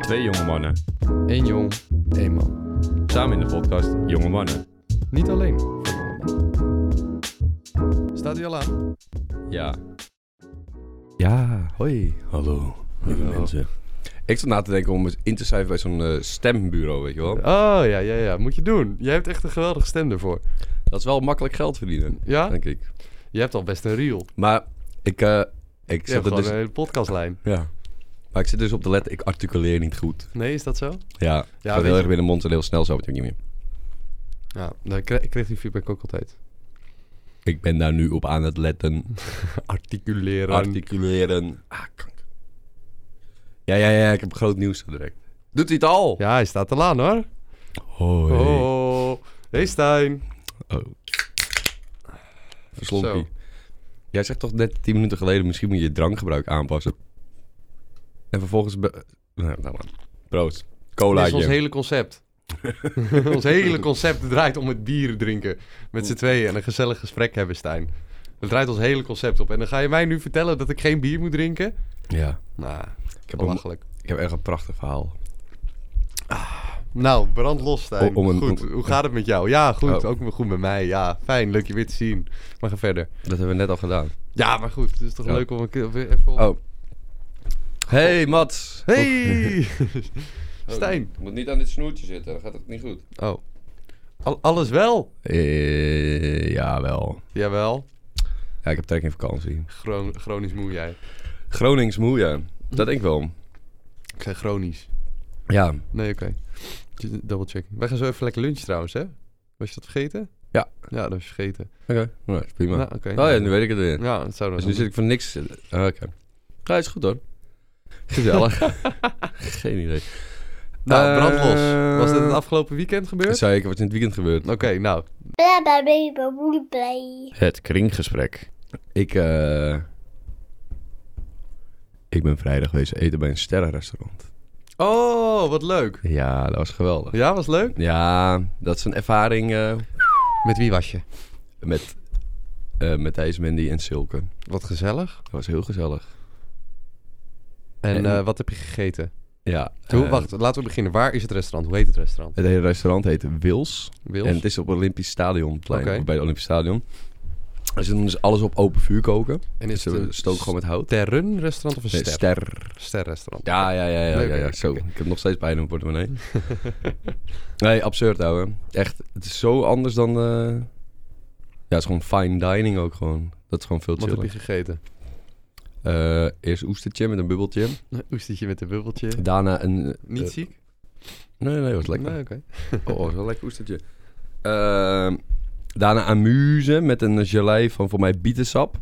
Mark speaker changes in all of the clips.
Speaker 1: Twee jonge mannen,
Speaker 2: Eén jong, één man.
Speaker 1: samen in de podcast Jonge Mannen.
Speaker 2: Niet alleen voor jonge mannen. Staat hij al aan?
Speaker 1: Ja. Ja, hoi. Hallo, lieve
Speaker 2: Hallo.
Speaker 1: mensen. Ik zat na te denken om eens in te schrijven bij zo'n eh, stembureau, weet je wel.
Speaker 2: Oh, ja, ja, ja. Moet je doen. Jij hebt echt een geweldige stem ervoor.
Speaker 1: Dat is wel makkelijk geld verdienen,
Speaker 2: Ja?
Speaker 1: denk ik.
Speaker 2: Je hebt al best een reel.
Speaker 1: Maar ik, eh, ik
Speaker 2: Je
Speaker 1: zit
Speaker 2: hebt
Speaker 1: er
Speaker 2: gewoon
Speaker 1: dus...
Speaker 2: een hele podcastlijn.
Speaker 1: Ja. Maar ik zit dus op de letter, ik articuleer niet goed.
Speaker 2: Nee, is dat zo?
Speaker 1: Ja, ik gaat
Speaker 2: weet
Speaker 1: heel
Speaker 2: je-
Speaker 1: erg binnen de mond en heel snel zo, weet ik niet meer.
Speaker 2: Ja, dan kreeg, ik kreeg die feedback ook altijd.
Speaker 1: Ik ben daar nu op aan het letten.
Speaker 2: Articuleren.
Speaker 1: Articuleren. Ah, kanker. Ja, ja, ja, ik heb groot nieuws zo direct. Doet hij het al?
Speaker 2: ja, hij staat al aan hoor.
Speaker 1: Hoi.
Speaker 2: Oh. Hey Stijn.
Speaker 1: Oh.
Speaker 2: Zo.
Speaker 1: Verslompie. Jij zegt toch net 10 minuten geleden, misschien moet je je drankgebruik aanpassen. En vervolgens... be- Nou, nou, nou. Proost.
Speaker 2: Dit is
Speaker 1: Colaatje.
Speaker 2: ons hele concept. ons hele concept draait om het bier drinken. Met z'n tweeën en een gezellig gesprek hebben, Stijn. Dat draait ons hele concept op. En dan ga je mij nu vertellen dat ik geen bier moet drinken?
Speaker 1: Ja.
Speaker 2: Nou,
Speaker 1: Ik heb, een,
Speaker 2: belachelijk.
Speaker 1: ik heb echt een prachtig verhaal.
Speaker 2: Nou, brand los, Stijn.
Speaker 1: O- om een-
Speaker 2: goed,
Speaker 1: om-
Speaker 2: hoe gaat het met jou? Ja,
Speaker 1: Oh.
Speaker 2: goed. Ook goed met mij. Ja, fijn. Leuk je weer te zien. Maar ga verder.
Speaker 1: Dat hebben we net al gedaan.
Speaker 2: Ja, maar goed. Het is toch
Speaker 1: Ja.
Speaker 2: leuk om een keer even... op-
Speaker 1: Oh. Hey, Mats.
Speaker 2: Hey!
Speaker 1: Oh.
Speaker 2: Stijn.
Speaker 1: moet niet aan dit snoertje zitten, dan gaat het niet goed.
Speaker 2: Oh. Al- alles wel?
Speaker 1: Eh, jawel.
Speaker 2: Jawel.
Speaker 1: Ja, ik heb trek in vakantie.
Speaker 2: Gro- Chronisch moe jij.
Speaker 1: Gronings moe, ja. Dat denk ik wel.
Speaker 2: Ik zei chronisch.
Speaker 1: Ja.
Speaker 2: Nee, oké. Double check. Wij gaan zo even lekker lunchen trouwens, hè? Was je dat vergeten?
Speaker 1: Ja.
Speaker 2: Ja, dat was je vergeten.
Speaker 1: Oké, nou, is prima.
Speaker 2: Nou, oké.
Speaker 1: Oh ja, nu weet ik het weer.
Speaker 2: Ja, dat zouden we
Speaker 1: Dus nu zit ik voor niks. eh, ah, Oké. Ja, is goed hoor. Gezellig. Geen idee.
Speaker 2: Nou,
Speaker 1: Eh,
Speaker 2: brandlos. Was dit het afgelopen weekend
Speaker 1: Dat
Speaker 2: gebeurd?
Speaker 1: zei ik, wat is in het weekend gebeurd?
Speaker 2: Oké, nou.
Speaker 3: Blah, blah, blah, blah, blah, blah.
Speaker 4: Het kringgesprek.
Speaker 1: Ik, eh, ik ben vrijdag geweest eten bij een sterrenrestaurant.
Speaker 2: Oh, wat leuk.
Speaker 1: Ja, dat was geweldig.
Speaker 2: Ja, was leuk.
Speaker 1: Ja, dat is een ervaring eh,
Speaker 2: Met wie was je?
Speaker 1: met, eh Matthijs, Mandy en Silke.
Speaker 2: Wat gezellig.
Speaker 1: Dat was heel gezellig.
Speaker 2: En,
Speaker 1: En-
Speaker 2: eh, wat heb je gegeten?
Speaker 1: Ja.
Speaker 2: Hoe,
Speaker 1: eh,
Speaker 2: wacht, laten we beginnen. Waar is het restaurant? Hoe heet het restaurant?
Speaker 1: Het hele restaurant heet Wils.
Speaker 2: Wils?
Speaker 1: En het is op het Olympisch Stadion,
Speaker 2: Oké.
Speaker 1: bij het Olympisch Stadion. Dus dan is alles op open vuur koken.
Speaker 2: En
Speaker 1: Dus we stoken gewoon met hout.
Speaker 2: Terren restaurant of een
Speaker 1: Nee,
Speaker 2: ster?
Speaker 1: ster.
Speaker 2: Sterrestaurant.
Speaker 1: Ja, ja, ja, ja,
Speaker 2: Leuk,
Speaker 1: ja, ja.
Speaker 2: oké,
Speaker 1: Zo,
Speaker 2: oké.
Speaker 1: ik heb nog steeds pijn in mijn portemonnee. nee, absurd ouwe. Echt, het is zo anders dan... eh, Ja, het is gewoon fine dining ook gewoon. Dat is gewoon veel
Speaker 2: Wat heb je
Speaker 1: chiller.
Speaker 2: gegeten?
Speaker 1: Eh, eerst oestertje met een bubbeltje.
Speaker 2: Een oestertje met een bubbeltje.
Speaker 1: Daarna een... eh,
Speaker 2: Niet
Speaker 1: eh,
Speaker 2: ziek?
Speaker 1: nee, nee, was lekker.
Speaker 2: Nee, oké.
Speaker 1: Oh, was wel lekker oestertje. Ehm, daarna amuse met een gelei van voor mij bietensap.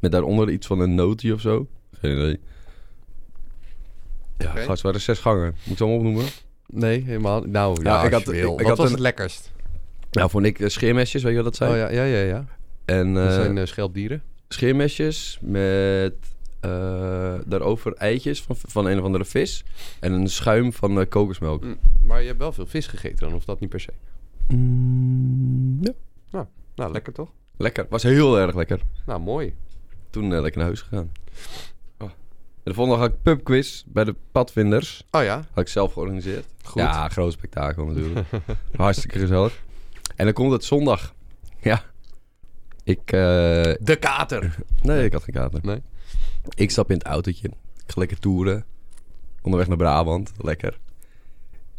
Speaker 1: Met daaronder iets van een nootje of zo. Geen idee. Ja,
Speaker 2: Oké.
Speaker 1: gast, het waren zes gangen. Moet ik ze allemaal opnoemen?
Speaker 2: Nee, helemaal. Nou, ja,
Speaker 1: Ja, ik
Speaker 2: als
Speaker 1: had-
Speaker 2: je wil.
Speaker 1: ik- ik
Speaker 2: Wat
Speaker 1: had
Speaker 2: was
Speaker 1: een-
Speaker 2: het lekkerst?
Speaker 1: Nou, vond ik eh, scheermesjes, weet je wat dat zijn?
Speaker 2: Oh ja, ja, ja, ja.
Speaker 1: En
Speaker 2: Dat
Speaker 1: eh,
Speaker 2: zijn eh, schelpdieren.
Speaker 1: scheermesjes met eh, daarover eitjes van, van een of andere vis. En een schuim van eh, kokosmelk.
Speaker 2: Maar je hebt wel veel vis gegeten dan, of dat niet per se? Mm,
Speaker 1: ja.
Speaker 2: Nou, lekker toch?
Speaker 1: Lekker. Was heel erg lekker.
Speaker 2: Nou, mooi.
Speaker 1: Toen eh, lekker naar huis gegaan. Oh. En de volgende dag had ik pubquiz bij de padvinders.
Speaker 2: Oh ja,
Speaker 1: Had ik zelf georganiseerd.
Speaker 2: goed.
Speaker 1: Ja, groot spektakel natuurlijk. Hartstikke gezellig. En dan komt het zondag. Ja. Ik, eh,
Speaker 2: De kater.
Speaker 1: Nee, ik had geen kater.
Speaker 2: Nee?
Speaker 1: Ik stap in het autootje. Ik ga lekker toeren. Onderweg naar Brabant. Lekker.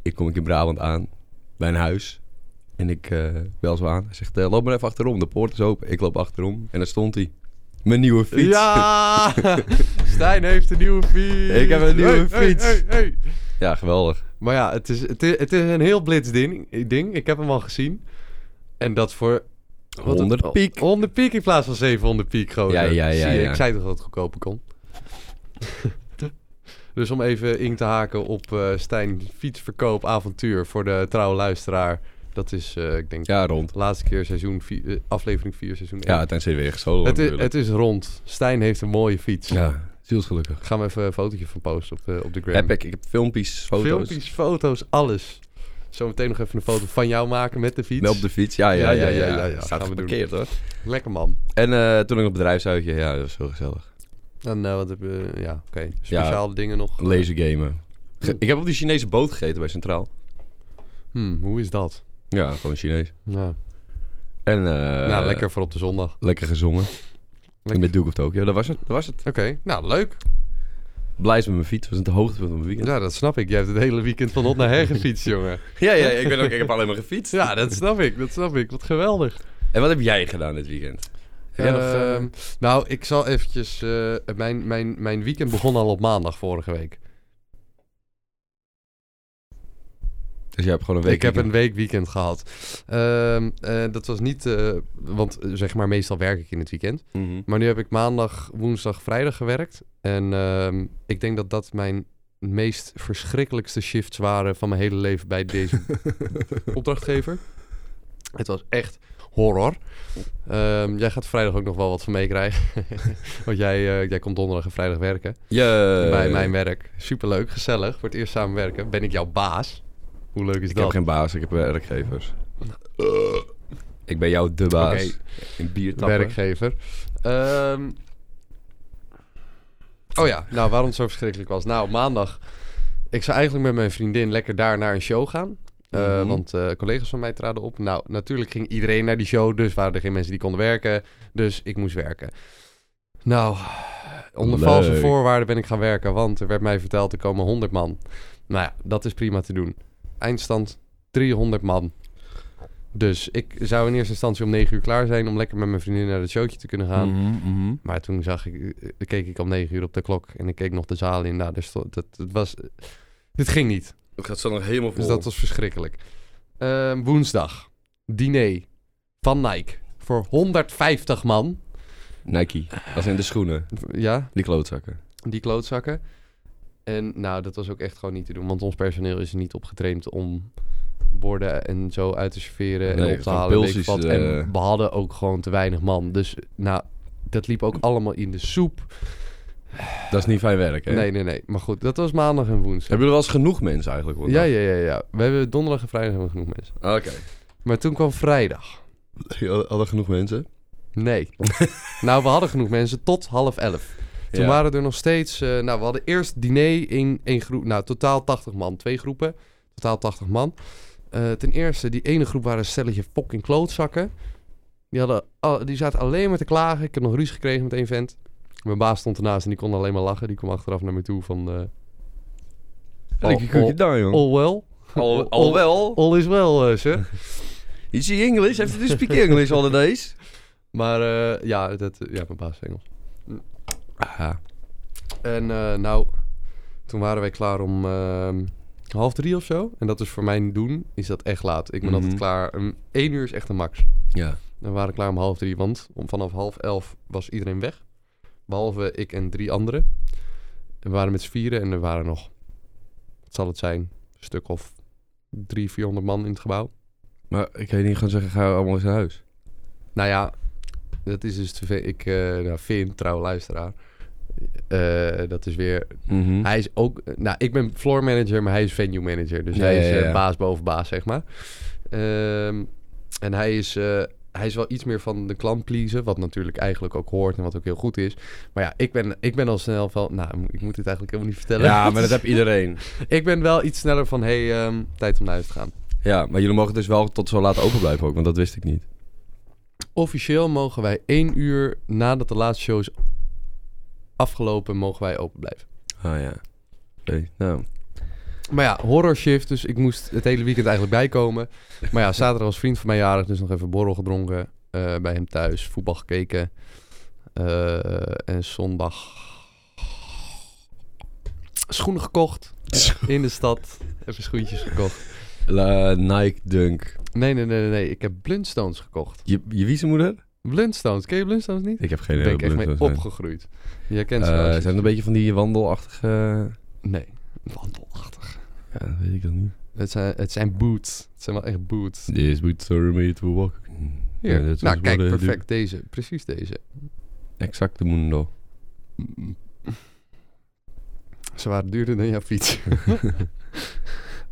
Speaker 1: Ik kom ik in Brabant aan. Bij een huis. En ik eh, bel zo aan. Hij zegt, eh, loop maar even achterom. De poort is open. Ik loop achterom. En daar stond hij. Mijn nieuwe fiets.
Speaker 2: Ja! Stijn heeft een nieuwe fiets.
Speaker 1: Ik heb een nieuwe
Speaker 2: Hey,
Speaker 1: fiets.
Speaker 2: hey, hey, hey.
Speaker 1: Ja, geweldig.
Speaker 2: Maar ja, het is, het, is, het is een heel blits ding, ding. Ik heb hem al gezien. En dat voor... wat een-
Speaker 1: 100 piek.
Speaker 2: 100 piek in plaats van 700 piek, gewoon.
Speaker 1: Ja, ja, ja,
Speaker 2: Zie je,
Speaker 1: ja.
Speaker 2: ik zei toch dat het goedkoper kon. dus om even in te haken op eh, Stijn fietsverkoop avontuur voor de trouwe luisteraar. Dat is, eh, ik denk,
Speaker 1: Ja, rond.
Speaker 2: de laatste keer seizoen vier- eh, aflevering 4, seizoen 1.
Speaker 1: Ja, tenzij weer gestolen
Speaker 2: het,
Speaker 1: wordt
Speaker 2: is,
Speaker 1: natuurlijk.
Speaker 2: het is rond. Stijn heeft een mooie fiets.
Speaker 1: Ja, zielsgelukkig.
Speaker 2: Gaan we even een fotootje van posten op, eh, op de gram.
Speaker 1: Epic. Ik heb filmpjes, foto's.
Speaker 2: Filmpjes, foto's, alles. Zometeen nog even een foto van jou maken met de fiets.
Speaker 1: Op de fiets. Ja, ja, ja. ja, ja,
Speaker 2: ja.
Speaker 1: Staat
Speaker 2: Gaan we doen.
Speaker 1: geparkeerd hoor.
Speaker 2: Lekker man.
Speaker 1: En eh, toen ik op het bedrijfsuitje. Ja, dat was heel gezellig.
Speaker 2: En eh, wat heb je... Ja, oké. Speciale dingen nog.
Speaker 1: Lezen gamen. Ge- Ik heb op die Chinese boot gegeten bij Centraal.
Speaker 2: Hm, hoe is dat?
Speaker 1: Ja, gewoon Chinees.
Speaker 2: Nou,
Speaker 1: En
Speaker 2: nou,
Speaker 1: lekker.
Speaker 2: lekker voor op de zondag.
Speaker 1: lekker gezongen.
Speaker 2: Lekker.
Speaker 1: Met Duke of Tokyo. Dat was het. Dat was het.
Speaker 2: Oké, nou leuk.
Speaker 1: Blij is met mijn fiets. was het hoogtepunt van mijn weekend.
Speaker 2: Ja, dat snap ik. Jij hebt het hele weekend van op naar her gefietst, jongen.
Speaker 1: Ja, ja, ik, ben ook, ik heb alleen maar gefietst.
Speaker 2: Ja, dat snap ik. Dat snap ik. Wat geweldig.
Speaker 1: En wat heb jij gedaan dit weekend? Heb jij nog, eh,
Speaker 2: Ehm, nou, ik zal eventjes... eh, mijn, mijn, mijn weekend begon al op maandag vorige week.
Speaker 1: dus jij hebt gewoon een week.
Speaker 2: ik heb een week weekend gehad. Ehm, eh, dat was niet... eh, want eh, zeg maar, meestal werk ik in het weekend.
Speaker 1: een...
Speaker 2: Maar nu heb ik maandag, woensdag, vrijdag gewerkt. En ehm, ik denk dat dat mijn meest verschrikkelijkste shifts waren van mijn hele leven bij deze opdrachtgever. Het was echt horror. Ehm, jij gaat vrijdag ook nog wel wat van meekrijgen. Want jij, eh, jij komt donderdag en vrijdag werken.
Speaker 1: Ja.
Speaker 2: bij mijn werk. Superleuk, gezellig. Voor het eerst samenwerken. Ben ik jouw baas? Hoe leuk is
Speaker 1: Ik
Speaker 2: dat?
Speaker 1: heb geen baas, ik heb eh, werkgevers. Eh. Ik ben jou de baas.
Speaker 2: Oké.
Speaker 1: In biertappen.
Speaker 2: werkgever. Ehm, oh ja, nou waarom het zo verschrikkelijk was. Nou, maandag. Ik zou eigenlijk met mijn vriendin lekker daar naar een show gaan. Eh,
Speaker 1: Mhm.
Speaker 2: Want eh, collega's van mij traden op. Nou, natuurlijk ging iedereen naar die show. Dus waren er geen mensen die konden werken. Dus ik moest werken. Nou, onder
Speaker 1: Leuk.
Speaker 2: valse voorwaarden ben ik gaan werken. Want er werd mij verteld, er komen 100 man. Nou ja, dat is prima te doen. Eindstand 300 man. Dus ik zou in eerste instantie om 9 uur klaar zijn om lekker met mijn vriendin naar het showtje te kunnen gaan.
Speaker 1: Mhm, mhm.
Speaker 2: Maar toen zag ik, eh, keek ik om 9 uur op de klok en ik keek nog de zaal in. Nou, dus dat, dat was, dit ging niet.
Speaker 1: Ik had zo nog helemaal vol.
Speaker 2: Dus dat was verschrikkelijk. Ehm, woensdag, diner van Nike voor 150 man.
Speaker 1: Nike. Dat zijn de schoenen.
Speaker 2: Ja,
Speaker 1: Die klootzakken.
Speaker 2: die klootzakken. En nou, dat was ook echt gewoon niet te doen, want ons personeel is er niet op getraind om borden en zo uit te serveren
Speaker 1: Nee,
Speaker 2: en op te
Speaker 1: gewoon
Speaker 2: halen. weet
Speaker 1: pulsies,
Speaker 2: ik wat.
Speaker 1: eh.
Speaker 2: En we hadden ook gewoon te weinig man. Dus nou, dat liep ook allemaal in de soep.
Speaker 1: Dat is niet fijn werk, hè?
Speaker 2: Nee, nee, nee. Maar goed, dat was maandag en woensdag.
Speaker 1: Hebben er wel eens genoeg mensen eigenlijk? hoor?
Speaker 2: Ja, ja, ja, ja. We hebben donderdag en vrijdag hebben we genoeg mensen.
Speaker 1: Oké.
Speaker 2: Maar toen kwam vrijdag.
Speaker 1: Hadden genoeg mensen?
Speaker 2: Nee. nou, we hadden genoeg mensen tot half elf. Toen
Speaker 1: Ja.
Speaker 2: waren er nog steeds... eh, nou, we hadden eerst diner in één groep. Nou, totaal 80 man. Twee groepen. Totaal 80 man. Eh, ten eerste, die ene groep waren een stelletje fucking klootzakken. Die, hadden, al- die zaten alleen maar te klagen. Ik heb nog ruzie gekregen met één vent. Mijn baas stond ernaast en die kon alleen maar lachen. Die kwam achteraf naar me toe van... eh
Speaker 1: Lekker
Speaker 2: Al-
Speaker 1: koekje daar, jong.
Speaker 2: all well?
Speaker 1: oh,
Speaker 2: al-
Speaker 1: Alhoewel,
Speaker 2: All is well, eh, sir.
Speaker 1: is he English? Heeft hij speak English all the days?
Speaker 2: Maar eh, ja, dat, ja, mijn baas is Engels.
Speaker 1: Aha.
Speaker 2: En eh, nou, toen waren wij klaar om ehm, half drie of zo. En dat is voor mijn doen, is dat echt laat. Ik ben altijd
Speaker 1: Mhm.
Speaker 2: klaar. Eén uur is echt een max.
Speaker 1: Ja.
Speaker 2: En we waren klaar om half drie, want om, vanaf half elf was iedereen weg. Behalve ik en drie anderen. En we waren met z'n vieren en er waren nog, wat zal het zijn, een stuk of drie, vierhonderd man in het gebouw.
Speaker 1: Maar ik kan je niet gewoon zeggen, ga allemaal eens naar huis.
Speaker 2: Nou ja, dat is dus te veel. Ik eh nou, Finn, trouwe luisteraar. eh, dat is weer
Speaker 1: Mhm.
Speaker 2: Hij is ook... Nou, ik ben floor manager, maar hij is venue manager. Dus
Speaker 1: Ja,
Speaker 2: hij
Speaker 1: ja,
Speaker 2: is eh,
Speaker 1: ja.
Speaker 2: baas boven baas, zeg maar. Ehm, en hij is, eh, hij is wel iets meer van de klant pleasen. Wat natuurlijk eigenlijk ook hoort en wat ook heel goed is. Maar ja, ik ben, ik ben al snel van... Nou, ik moet dit eigenlijk helemaal niet vertellen.
Speaker 1: Ja, maar dat heb iedereen.
Speaker 2: Ik ben wel iets sneller van... hey, ehm, tijd om naar huis te gaan.
Speaker 1: Ja, maar jullie mogen dus wel tot zo laat open blijven ook, want dat wist ik niet.
Speaker 2: Officieel mogen wij één uur nadat de laatste show is afgelopen... mogen wij open blijven.
Speaker 1: Ah ja. Oké, nou.
Speaker 2: Maar ja, horror shift, dus ik moest het hele weekend eigenlijk bijkomen. Maar ja, zaterdag was vriend van mij jarig, dus nog even borrel gedronken eh, bij hem thuis, voetbal gekeken. Eh, en zondag schoenen gekocht in de stad. Even schoentjes gekocht.
Speaker 1: La- Nike Dunk.
Speaker 2: Nee, nee, nee, nee, nee, ik heb Blundstones gekocht.
Speaker 1: Je, je wie zijn moeder?
Speaker 2: Blundstones, ken je Blundstones niet?
Speaker 1: Ik heb geen
Speaker 2: Daar ben ik echt
Speaker 1: idee
Speaker 2: mee
Speaker 1: wat Blunt
Speaker 2: opgegroeid. Jij
Speaker 1: zijn.
Speaker 2: kent ze wel,
Speaker 1: Eh,
Speaker 2: als je
Speaker 1: zijn het een beetje van die wandelachtige...
Speaker 2: Nee, wandelachtig.
Speaker 1: Ja, dat weet ik dan niet.
Speaker 2: Het zijn, het zijn boots. Het zijn wel echt boots.
Speaker 1: This boots are made to walk.
Speaker 2: Hier.
Speaker 1: Hm. Ja, dat
Speaker 2: nou,
Speaker 1: is
Speaker 2: kijk,
Speaker 1: wel, eh,
Speaker 2: perfect. Deze. Precies deze.
Speaker 1: Exact de mundo.
Speaker 2: Ze waren duurder dan jouw fiets.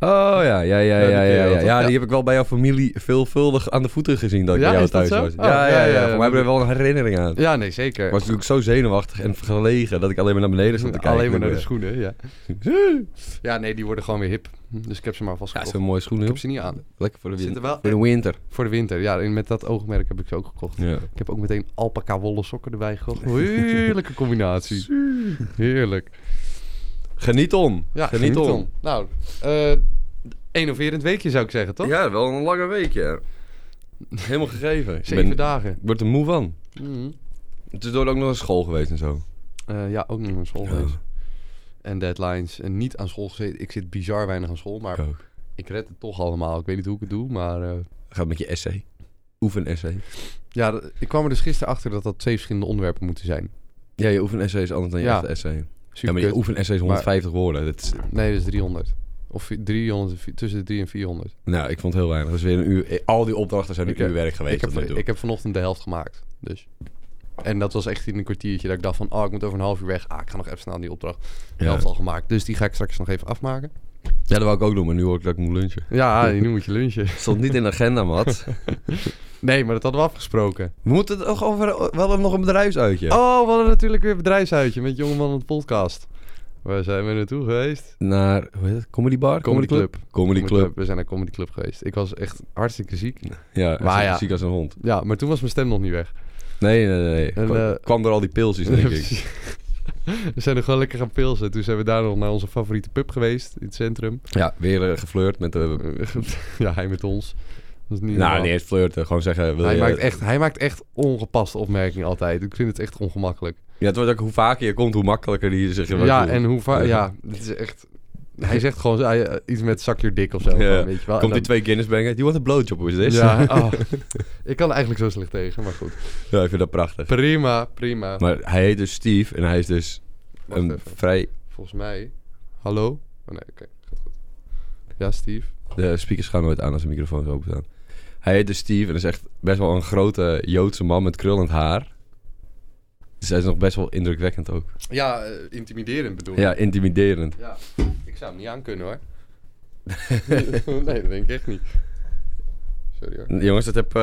Speaker 1: Oh ja, ja, ja,
Speaker 2: die
Speaker 1: ja, ja,
Speaker 2: ken je
Speaker 1: ja,
Speaker 2: wel, toch?
Speaker 1: ja.
Speaker 2: Ja.
Speaker 1: Die heb ik wel bij jouw familie veelvuldig aan de voeten gezien dat ik
Speaker 2: Ja,
Speaker 1: bij jou
Speaker 2: is dat
Speaker 1: thuis
Speaker 2: zo?
Speaker 1: was.
Speaker 2: Oh,
Speaker 1: ja,
Speaker 2: ja,
Speaker 1: ja,
Speaker 2: ja,
Speaker 1: ja.
Speaker 2: ja,
Speaker 1: Voor
Speaker 2: dat-
Speaker 1: mij hebben we wel een herinnering aan. Ik
Speaker 2: Ja, nee, zeker.
Speaker 1: was natuurlijk zo zenuwachtig en verlegen dat ik alleen maar naar beneden zat te kijken.
Speaker 2: Alleen maar naar de
Speaker 1: schoenen.
Speaker 2: schoenen, ja. Ja, nee, die worden gewoon weer hip. Dus ik heb ze maar vast
Speaker 1: Ja,
Speaker 2: gekocht.
Speaker 1: zo'n mooie schoenen.
Speaker 2: ik heb
Speaker 1: joh.
Speaker 2: ze niet aan.
Speaker 1: Lekker voor de
Speaker 2: Zitten
Speaker 1: winter.
Speaker 2: wel
Speaker 1: Voor de winter.
Speaker 2: voor de winter. Ja, en met dat oogmerk heb ik ze ook gekocht.
Speaker 1: Ja.
Speaker 2: Ik heb ook meteen alpaca wollen sokken erbij gekocht. Heerlijke combinatie. Heerlijk.
Speaker 1: Geniet om.
Speaker 2: Ja,
Speaker 1: geniet, om.
Speaker 2: Nou, eh innoverend weekje zou ik zeggen, toch?
Speaker 1: Ja, wel een lange week, ja. Helemaal gegeven. Ik
Speaker 2: Zeven
Speaker 1: ben-
Speaker 2: dagen.
Speaker 1: Ik word er moe van.
Speaker 2: Mhm.
Speaker 1: Tussendoor ook nog naar school geweest en zo.
Speaker 2: Eh, ja, ook nog naar school geweest. En deadlines. En niet aan school gezeten. Ik zit bizar weinig aan school, maar
Speaker 1: Ik ook.
Speaker 2: ik red het toch allemaal. Ik weet niet hoe ik het doe, maar... eh,
Speaker 1: Gaat met je essay. Oefen essay.
Speaker 2: ja, d- ik kwam er dus gisteren achter dat dat twee verschillende onderwerpen moeten zijn.
Speaker 1: Ja, je oefen essay is anders dan je
Speaker 2: Ja.
Speaker 1: echte essay. Ja,
Speaker 2: Super
Speaker 1: maar je oefen essay is 150 woorden. Dat is,
Speaker 2: Nee, dat is 300. Of vi- 300, en vi- tussen de 300 en 400.
Speaker 1: nou, ik vond het heel weinig. Dus weer een uur. Al die opdrachten zijn
Speaker 2: Ik
Speaker 1: een
Speaker 2: heb-
Speaker 1: uur werk geweest.
Speaker 2: ik, heb,
Speaker 1: tot nu toe.
Speaker 2: ik heb vanochtend de helft gemaakt. Dus. En dat was echt in een kwartiertje dat ik dacht van... Oh, ik moet over een half uur weg. Ah, ik ga nog even snel aan die opdracht. De
Speaker 1: ja.
Speaker 2: helft al gemaakt. Dus die ga ik straks nog even afmaken.
Speaker 1: ja, dat wou ik ook doen, maar nu hoor ik dat ik moet lunchen.
Speaker 2: Ja, nu moet je lunchen.
Speaker 1: Stond niet in de agenda, Mat.
Speaker 2: Nee, maar dat hadden we afgesproken.
Speaker 1: We moeten het ook over. We hadden nog een bedrijfsuitje.
Speaker 2: Oh, we hadden natuurlijk weer een bedrijfsuitje met Jongeman op de podcast. Waar zijn we naartoe geweest?
Speaker 1: Naar, hoe heet het? Comedy Bar?
Speaker 2: Comedy Club.
Speaker 1: Comedy Club.
Speaker 2: We zijn naar Comedy Club geweest. Ik was echt hartstikke ziek.
Speaker 1: Ja,
Speaker 2: Maar
Speaker 1: ziek-
Speaker 2: ja.
Speaker 1: ziek als een hond.
Speaker 2: Ja, maar toen was mijn stem nog niet weg.
Speaker 1: Nee, nee, nee.
Speaker 2: En,
Speaker 1: Kwam,
Speaker 2: eh,
Speaker 1: kwam door al die pilsjes, denk ik.
Speaker 2: we zijn nog wel lekker gaan pilsen. Toen zijn we daar nog naar onze favoriete pub geweest in het centrum.
Speaker 1: Ja, weer eh, geflirt met de...
Speaker 2: ja, hij met ons. Dat is niet
Speaker 1: Nou,
Speaker 2: normaal.
Speaker 1: niet eens flirten. Gewoon zeggen... Wil
Speaker 2: Hij,
Speaker 1: je...
Speaker 2: maakt echt, hij maakt echt ongepaste opmerkingen altijd. Ik vind het echt ongemakkelijk.
Speaker 1: Ja, het wordt ook hoe vaker je komt, hoe makkelijker die zich...
Speaker 2: Ja, en hoe vaak...
Speaker 1: Ja.
Speaker 2: Ja, dit is echt... Hij zegt gewoon hij, eh, iets met zak je dik of zo.
Speaker 1: Ja.
Speaker 2: gewoon, Weet je wel.
Speaker 1: Komt
Speaker 2: En
Speaker 1: die
Speaker 2: dan-
Speaker 1: twee Guinness brengen? Die wordt een blowjob, is dit?
Speaker 2: Ja, oh. ik kan er eigenlijk zo slecht tegen, maar goed.
Speaker 1: Ja, ik vind dat prachtig.
Speaker 2: Prima, prima.
Speaker 1: Maar hij heet dus Steve en hij is dus
Speaker 2: Wacht
Speaker 1: een
Speaker 2: even.
Speaker 1: vrij...
Speaker 2: Volgens mij... Hallo? Oh, nee, oké. Gaat goed. Ja, Steve?
Speaker 1: De speakers gaan nooit aan als de microfoons openstaan. Hij heet dus Steve en is echt best wel een grote Joodse man met krullend haar. Dus hij is nog best wel indrukwekkend ook.
Speaker 2: Ja, eh, intimiderend bedoel ik.
Speaker 1: Ja, intimiderend.
Speaker 2: Ja, ik zou hem niet aankunnen hoor. nee, dat denk ik echt niet. Sorry hoor.
Speaker 1: Jongens, dat heb eh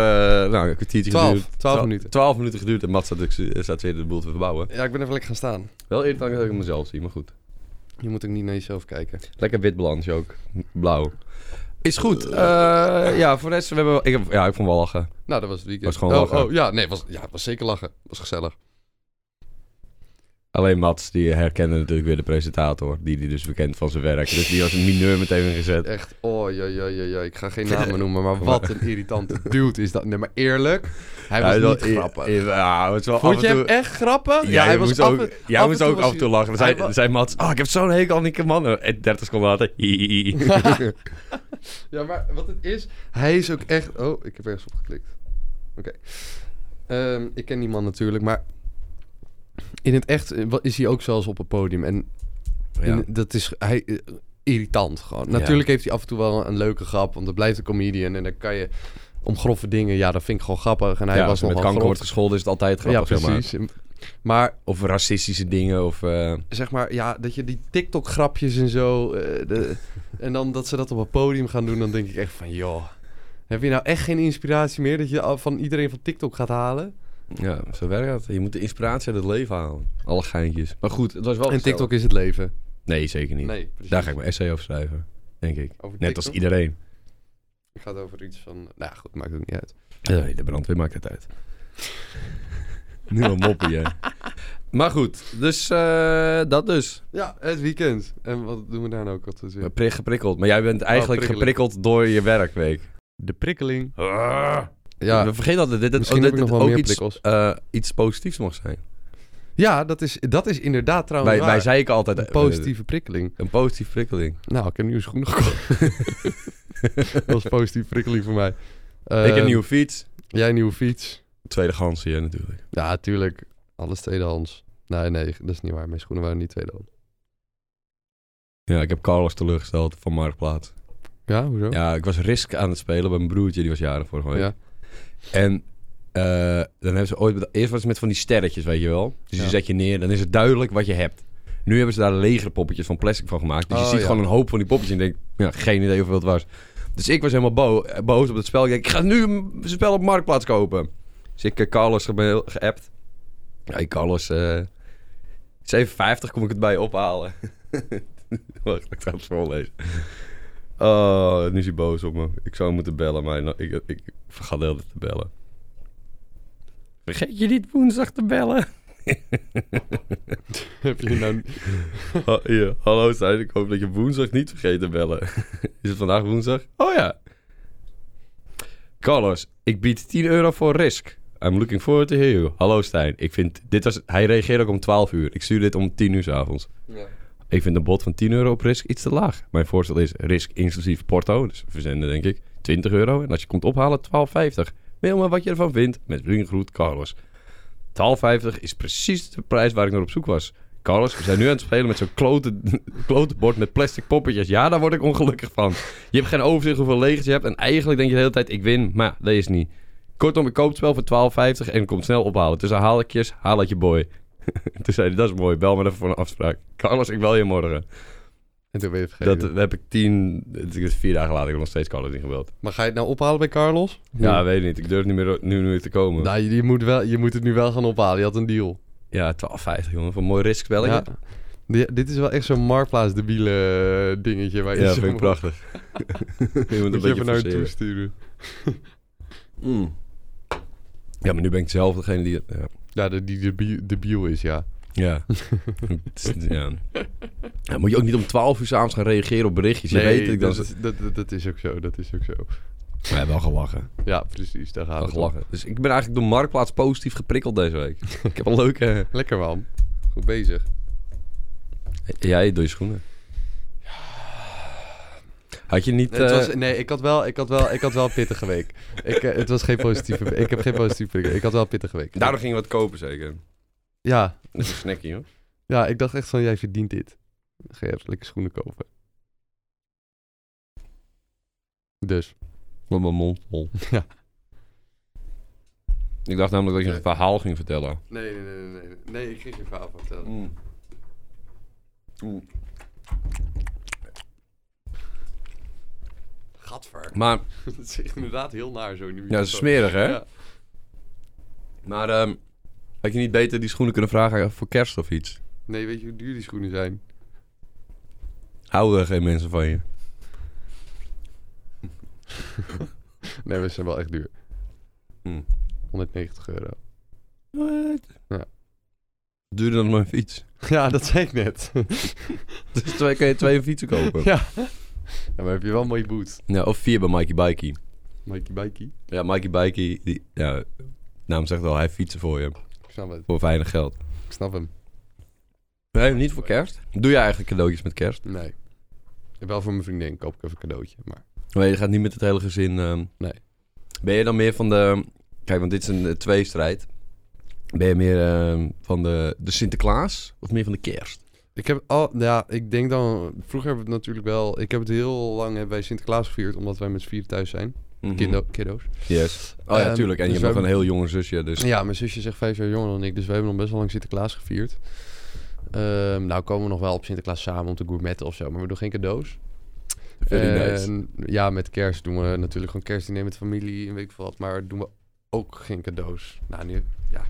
Speaker 1: nou, een kwartiertje
Speaker 2: Twaalf.
Speaker 1: geduurd.
Speaker 2: Twaalf
Speaker 1: Twa-
Speaker 2: minuten.
Speaker 1: Twaalf minuten geduurd en Mats staat, staat weer de boel te verbouwen.
Speaker 2: Ja, ik ben even lekker gaan staan.
Speaker 1: Wel eerder dat ik mezelf zie, maar goed.
Speaker 2: Je moet ook niet naar jezelf kijken.
Speaker 1: Lekker wit balansje ook. Blauw. Is goed. Eh, ja, voor de rest, we hebben wel- ik heb, ja, ik vond wel lachen.
Speaker 2: Nou, dat was het weekend.
Speaker 1: Was gewoon
Speaker 2: oh,
Speaker 1: lachen.
Speaker 2: oh, ja, nee, was, ja, was zeker lachen. Was gezellig.
Speaker 1: Alleen Mats, die herkende natuurlijk weer de presentator. Die die dus bekend van zijn werk. Dus die was een mineur meteen gezet.
Speaker 2: Echt, oh, ja, ja, ja, ja. Ik ga geen namen noemen, maar wat een irritante dude is dat. Nee, maar eerlijk, hij was
Speaker 1: wel-
Speaker 2: niet grappig.
Speaker 1: i- i- Ja, het was wel
Speaker 2: Vond
Speaker 1: af
Speaker 2: je
Speaker 1: en toe...
Speaker 2: hem echt grappig?
Speaker 1: Jij moest ook,
Speaker 2: en-
Speaker 1: jij
Speaker 2: af en
Speaker 1: moest
Speaker 2: toe
Speaker 1: ook
Speaker 2: was
Speaker 1: af en toe
Speaker 2: hij-
Speaker 1: lachen. Dan
Speaker 2: hij
Speaker 1: zei,
Speaker 2: wa-
Speaker 1: zei Mats, oh, ik heb zo'n hekel aan die man. En 30 seconden later, hi, hi, hi.
Speaker 2: Ja, maar wat het is, hij is ook echt. Oh, ik heb ergens op geklikt. Oké. Ehm, ik ken die man natuurlijk, maar in het echt eh, wa- is hij ook zelfs op het podium. En in-
Speaker 1: Ja.
Speaker 2: dat is hij, eh, irritant gewoon. Natuurlijk heeft hij af en toe wel een, een leuke grap, want het blijft een comedian en dan kan je om grove dingen. Ja, dat vind ik gewoon grappig. En hij
Speaker 1: ja,
Speaker 2: was
Speaker 1: als je
Speaker 2: nog
Speaker 1: met kanker wordt
Speaker 2: grof.
Speaker 1: gescholden is het altijd grappig,
Speaker 2: ja,
Speaker 1: zeg maar.
Speaker 2: precies. Maar
Speaker 1: Of racistische dingen, of... eh,
Speaker 2: zeg maar, ja, dat je die TikTok-grapjes en zo. eh, de, en dan dat ze dat op het podium gaan doen, dan denk ik echt van, joh. Heb je nou echt geen inspiratie meer dat je al van iedereen van TikTok gaat halen?
Speaker 1: Ja, zo werkt dat. Je moet de inspiratie uit het leven halen. Alle geintjes. Maar goed, het was wel
Speaker 2: en
Speaker 1: gezellig.
Speaker 2: TikTok is het leven.
Speaker 1: Nee, zeker niet.
Speaker 2: Nee, precies.
Speaker 1: Daar ga ik mijn essay over schrijven, denk ik.
Speaker 2: Over
Speaker 1: Net als
Speaker 2: TikTok?
Speaker 1: iedereen.
Speaker 2: Ik ga het over iets van... Nou ja, goed, maakt ook niet uit.
Speaker 1: Nee, de brandweer maakt het uit. nu al moppen, jij. Maar goed, dus eh, dat dus.
Speaker 2: Ja, het weekend. En wat doen we daar nou ook altijd weer?
Speaker 1: Pri- Geprikkeld. Maar jij bent eigenlijk
Speaker 2: Oh, prikkelen.
Speaker 1: geprikkeld door je werkweek.
Speaker 2: De prikkeling.
Speaker 1: Ja.
Speaker 2: Ja,
Speaker 1: We vergeten altijd dat dit,
Speaker 2: Misschien
Speaker 1: oh,
Speaker 2: heb
Speaker 1: dit-
Speaker 2: ik nog
Speaker 1: dit
Speaker 2: wel
Speaker 1: ook
Speaker 2: meer
Speaker 1: iets,
Speaker 2: prikkels.
Speaker 1: eh, iets positiefs mag zijn.
Speaker 2: ja dat, is, dat is inderdaad trouwens
Speaker 1: Wij,
Speaker 2: waar.
Speaker 1: wij zeiken altijd...
Speaker 2: Een
Speaker 1: eh,
Speaker 2: positieve prikkeling.
Speaker 1: Een positieve prikkeling.
Speaker 2: Nou, ik heb nieuwe schoenen gekocht. dat was een positieve prikkeling voor mij. Eh,
Speaker 1: ik heb een nieuwe fiets.
Speaker 2: Jij een nieuwe fiets.
Speaker 1: Tweede ganse, ja, natuurlijk.
Speaker 2: Ja, tuurlijk. Alles tweedehands. Nee, nee, dat is niet waar. Mijn schoenen waren niet tweedehands.
Speaker 1: Ja, ik heb Carlos teleurgesteld van Marktplaats.
Speaker 2: Ja, hoezo?
Speaker 1: Ja, ik was Risk aan het spelen bij mijn broertje, die was jarig vorige week.
Speaker 2: Ja.
Speaker 1: En eh, dan hebben ze ooit... beda- Eerst was het met van die sterretjes, weet je wel. Dus
Speaker 2: Ja.
Speaker 1: die zet je neer, dan is het duidelijk wat je hebt. Nu hebben ze daar legere poppetjes van plastic van gemaakt. Dus je
Speaker 2: Oh,
Speaker 1: ziet
Speaker 2: ja.
Speaker 1: gewoon een hoop van die poppetjes en je denkt, ja, geen idee hoeveel het was. Dus ik was helemaal bo- boos op het spel. Ik denk, ik ga nu een spel op Marktplaats kopen. Dus ik eh, Carlos ge- geappt. Ja, hey, Carlos, eh 7,50 kom ik het bij je ophalen. Wacht, ik ga het voorlezen. Oh, nu is hij boos op me. Ik zou hem moeten bellen, maar nou, ik, ik vergat de hele tijd te bellen. Vergeet je niet woensdag te bellen.
Speaker 2: Heb je nou...
Speaker 1: Ha- Oh, hier, hallo Stijn, ik hoop dat je woensdag niet vergeet te bellen. Is het vandaag woensdag? Oh ja. Carlos, ik bied 10 euro voor risk. I'm looking forward to hear you. Hallo Stijn, ik vind... Dit was, hij reageerde ook om 12 uur. Ik stuur dit om 10 uur 's avonds.
Speaker 2: Ja.
Speaker 1: Ik vind een bod van 10 euro op risk iets te laag. Mijn voorstel is risk inclusief porto, dus verzenden denk ik, 20 euro. En als je komt ophalen, 12,50. Mail me wat je ervan vindt. Met vriendelijk groet, Carlos. 12,50 is precies de prijs waar ik naar op zoek was. Carlos, we zijn nu aan het spelen met zo'n klote, klote bord met plastic poppetjes. Ja, daar word ik ongelukkig van. Je hebt geen overzicht hoeveel legers je hebt. En eigenlijk denk je de hele tijd, ik win. Maar ja, dat is niet. Kortom, ik koop het spel voor 12,50 en komt snel ophalen. Tussen haalekjes, haal het je boy. Toen zei hij, dat is mooi, bel me even voor een afspraak. Carlos, ik bel je morgen.
Speaker 2: En toen ben je het vergeten.
Speaker 1: Dat eh, heb ik tien, het is vier dagen later, ik heb nog steeds Carlos niet gebeld.
Speaker 2: Maar ga je het nou ophalen bij Carlos?
Speaker 1: Ja, weet ik niet, ik durf niet meer, nu, nu meer te komen.
Speaker 2: Nou, je, je moet wel, je moet het nu wel gaan ophalen. Je had een deal.
Speaker 1: Ja, 12,50 jongen, voor een mooi riskspelletje. Ja,
Speaker 2: Ja. Di- dit is wel echt zo'n marktplaats debiele eh, dingetje. Waar je zo
Speaker 1: vind ik
Speaker 2: moet-
Speaker 1: prachtig. je moet een
Speaker 2: Moet je
Speaker 1: beetje
Speaker 2: even naar hem
Speaker 1: forceren.
Speaker 2: toesturen.
Speaker 1: Mm. Ja, maar nu ben ik zelf degene die... Ja.
Speaker 2: Ja, de, die debiel, debiel is, ja.
Speaker 1: Ja. Het is- ja. Ja, moet je ook niet om 12 uur s'avonds gaan reageren op berichtjes. Je weet het, ik
Speaker 2: dat,
Speaker 1: dan...
Speaker 2: is- dat, dat, dat is ook zo. Dat is ook zo.
Speaker 1: We hebben wel gelachen.
Speaker 2: Ja, precies. Daar gaat
Speaker 1: Wel
Speaker 2: het om.
Speaker 1: gelachen. Dus ik ben eigenlijk door Marktplaats positief geprikkeld deze week. ik heb een leuke...
Speaker 2: Lekker, man. Goed bezig.
Speaker 1: Jij door je schoenen. Had je niet...
Speaker 2: het
Speaker 1: eh,
Speaker 2: was, nee, ik had wel, ik had wel, ik had wel een pittige week. Ik, eh, het was geen positieve week. Ik heb geen positieve week. Ik had wel een pittige week.
Speaker 1: Daardoor ging je wat kopen zeker.
Speaker 2: Ja,
Speaker 1: Dat is een snackie hoor.
Speaker 2: ja, ik dacht echt van, jij verdient dit. Ga je even lekker schoenen kopen. Dus.
Speaker 1: Met mijn mond vol.
Speaker 2: Ja.
Speaker 1: Ik dacht namelijk dat je een verhaal ging vertellen.
Speaker 2: Nee, nee, nee, nee. Nee, ik ging geen verhaal van vertellen.
Speaker 1: Mm.
Speaker 2: Gadver.
Speaker 1: Maar,
Speaker 2: Het is echt inderdaad heel naar zo.
Speaker 1: ja, dat is smerig hè?
Speaker 2: Ja.
Speaker 1: Maar, ehm, had je niet beter die schoenen kunnen vragen voor kerst of iets?
Speaker 2: Nee, weet je hoe duur die schoenen zijn?
Speaker 1: Houden er geen mensen van je?
Speaker 2: Nee, maar ze zijn wel echt duur.
Speaker 1: Hmm.
Speaker 2: 190 euro.
Speaker 1: Wat?
Speaker 2: Ja.
Speaker 1: Duurder dan mijn fiets.
Speaker 2: Ja, dat zei ik net.
Speaker 1: Dus twee, kan je twee fietsen kopen. Ja.
Speaker 2: ja. ja, maar heb je wel een mooie boot.
Speaker 1: of vier bij Mikey Bikey.
Speaker 2: Mikey Bikey.
Speaker 1: Ja, Mikey Bikey, die, ja, naam zegt al, hij fietsen voor je.
Speaker 2: Ik snap het.
Speaker 1: Voor weinig geld.
Speaker 2: Ik snap hem.
Speaker 1: Nee, niet voor kerst. Doe je eigenlijk cadeautjes met kerst?
Speaker 2: Nee. En Wel voor mijn vriendin koop ik even een cadeautje. Maar
Speaker 1: Nee, je gaat niet met het hele gezin. ehm.
Speaker 2: Nee.
Speaker 1: Ben je dan meer van de... Kijk, want dit is een eh, tweestrijd. Ben je meer ehm, van de, de Sinterklaas of meer van de kerst?
Speaker 2: ik heb al, ja, ik denk dan. Vroeger hebben we het natuurlijk wel. Ik heb het heel lang hebben wij Sinterklaas gevierd, omdat wij met z'n vier thuis zijn.
Speaker 1: Mhm.
Speaker 2: Kindo, kiddo's.
Speaker 1: Yes. Oh ja,
Speaker 2: Ehm,
Speaker 1: tuurlijk. En
Speaker 2: dus
Speaker 1: je hebt
Speaker 2: we
Speaker 1: nog een heel jonge zusje, dus...
Speaker 2: Ja, mijn zusje is echt vijf jaar jonger dan ik, dus we hebben nog best wel lang Sinterklaas gevierd. Ehm, nou komen we nog wel op Sinterklaas samen om te gourmetten of zo, maar we doen geen cadeaus.
Speaker 1: Very
Speaker 2: En,
Speaker 1: nice.
Speaker 2: Ja, met kerst doen we natuurlijk gewoon kerstdiner met familie en weet ik veel wat, maar doen we ook geen cadeaus. Nou, nu, ja.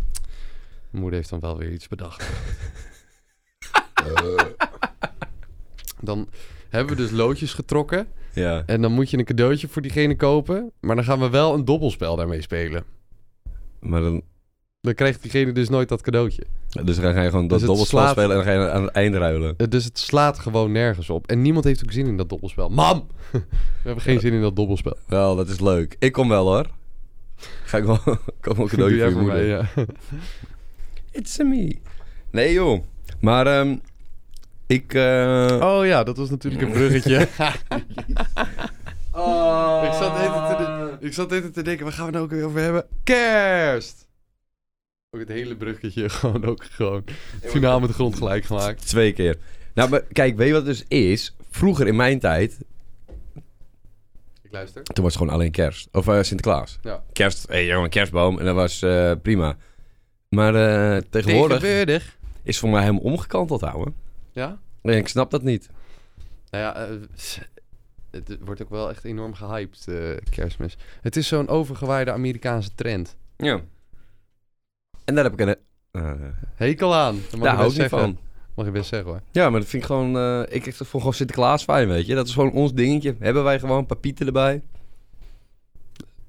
Speaker 2: Mijn moeder heeft dan wel weer iets bedacht. Eh, Dan hebben we dus loodjes getrokken
Speaker 1: Ja.
Speaker 2: en dan moet je een cadeautje voor diegene kopen, maar dan gaan we wel een dobbelspel daarmee spelen.
Speaker 1: Maar dan...
Speaker 2: Dan krijgt diegene dus nooit dat cadeautje.
Speaker 1: Dus dan ga je gewoon dat
Speaker 2: Dus het
Speaker 1: dobbelspel
Speaker 2: slaat-
Speaker 1: spelen en dan ga je aan het eind ruilen.
Speaker 2: Eh, Dus het slaat gewoon nergens op. En niemand heeft ook zin in dat dobbelspel. Mam! We hebben geen zin in dat dobbelspel.
Speaker 1: Wel, dat is leuk. Ik kom wel, hoor. Ga ik wel... kom wel een cadeautje voor je moeder.
Speaker 2: mij, ja.
Speaker 1: It's a me. Nee, joh. Maar, ehm, ik... eh,
Speaker 2: Oh ja, dat was natuurlijk een bruggetje. Oh. ik, zat even te, ik zat even te denken, waar gaan we het nou ook weer over hebben? Kerst! Ook het hele bruggetje gewoon ook gewoon finaal met de grond gelijk gemaakt.
Speaker 1: Twee keer. Nou, maar kijk, weet je wat het dus is? Vroeger in mijn tijd,
Speaker 2: Ik luister.
Speaker 1: toen was het gewoon alleen kerst. Of eh, Sinterklaas.
Speaker 2: Ja.
Speaker 1: Kerst, hé jongen, kerstboom. En dat was eh, prima. Maar eh, tegenwoordig
Speaker 2: Tegenwoordig.
Speaker 1: is voor mij helemaal omgekanteld, ouwe.
Speaker 2: Ja?
Speaker 1: Nee, ik snap dat niet.
Speaker 2: Nou ja, eh, het wordt ook wel echt enorm gehyped, eh, kerstmis. Het is zo'n overgewaaide Amerikaanse trend.
Speaker 1: Ja. En daar heb ik een... eh,
Speaker 2: Hekel aan. Dat mag
Speaker 1: daar
Speaker 2: je
Speaker 1: hou
Speaker 2: best
Speaker 1: ik niet
Speaker 2: zeggen.
Speaker 1: van.
Speaker 2: Mag je best zeggen hoor.
Speaker 1: Ja, maar dat vind ik gewoon... eh, ik ik vond gewoon Sinterklaas fijn, weet je. Dat is gewoon ons dingetje. Hebben wij gewoon papieten erbij.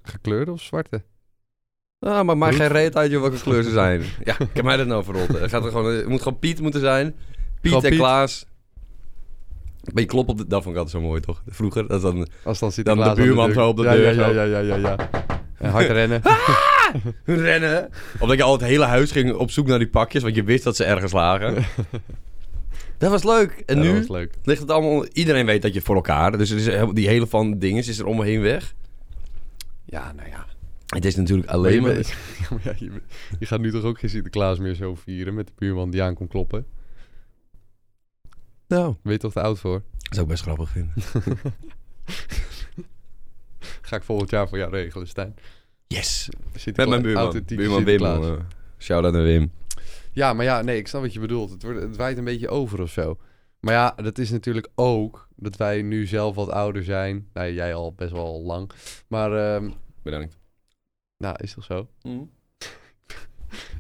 Speaker 2: Gekleurde of zwarte?
Speaker 1: Ah, maar maak
Speaker 2: Roet.
Speaker 1: geen reet uit, joh, welke kleur ze zijn. ja, ik heb mij dat nou verrotten. Het, gaat er gewoon, het moet gewoon Piet moeten zijn. Piet
Speaker 2: Gewoon
Speaker 1: en
Speaker 2: Piet.
Speaker 1: Klaas. Ben je klop op de... Dat vond ik altijd zo mooi, toch? Vroeger, dat is dan...
Speaker 2: Als dan zit
Speaker 1: Dan de buurman zo op de
Speaker 2: ja,
Speaker 1: deur,
Speaker 2: Ja,
Speaker 1: zo.
Speaker 2: ja, ja, ja, ja. En hard rennen.
Speaker 1: Rennen. Omdat je al het hele huis ging op zoek naar die pakjes, want je wist dat ze ergens lagen. dat was leuk. En
Speaker 2: Ja,
Speaker 1: nu
Speaker 2: Dat was leuk.
Speaker 1: ligt het allemaal... Iedereen weet dat je het voor elkaar... Dus er is heel- die hele van dinges is er om me heen weg.
Speaker 2: Ja, nou ja.
Speaker 1: Het is natuurlijk
Speaker 2: Maar je
Speaker 1: alleen maar...
Speaker 2: bent- Ja, maar ja, je, bent- je gaat nu toch ook geen Sinterklaas meer zo vieren met de buurman die aan komt kloppen?
Speaker 1: Nou,
Speaker 2: Ben je toch te oud voor?
Speaker 1: dat zou ik best grappig vinden.
Speaker 2: Ga ik volgend jaar voor jou regelen, Stijn.
Speaker 1: Yes.
Speaker 2: Sinterkla-
Speaker 1: Met mijn buurman.
Speaker 2: authentieke
Speaker 1: Buurman Wim.
Speaker 2: Sinterklaas.
Speaker 1: eh, Shout-out naar Wim.
Speaker 2: Ja, maar ja, nee, ik snap wat je bedoelt. Het, wordt, het waait een beetje over of zo. Maar ja, dat is natuurlijk ook dat wij nu zelf wat ouder zijn. Nou, jij al best wel lang. Maar, ehm,
Speaker 1: Bedankt.
Speaker 2: nou, is toch zo?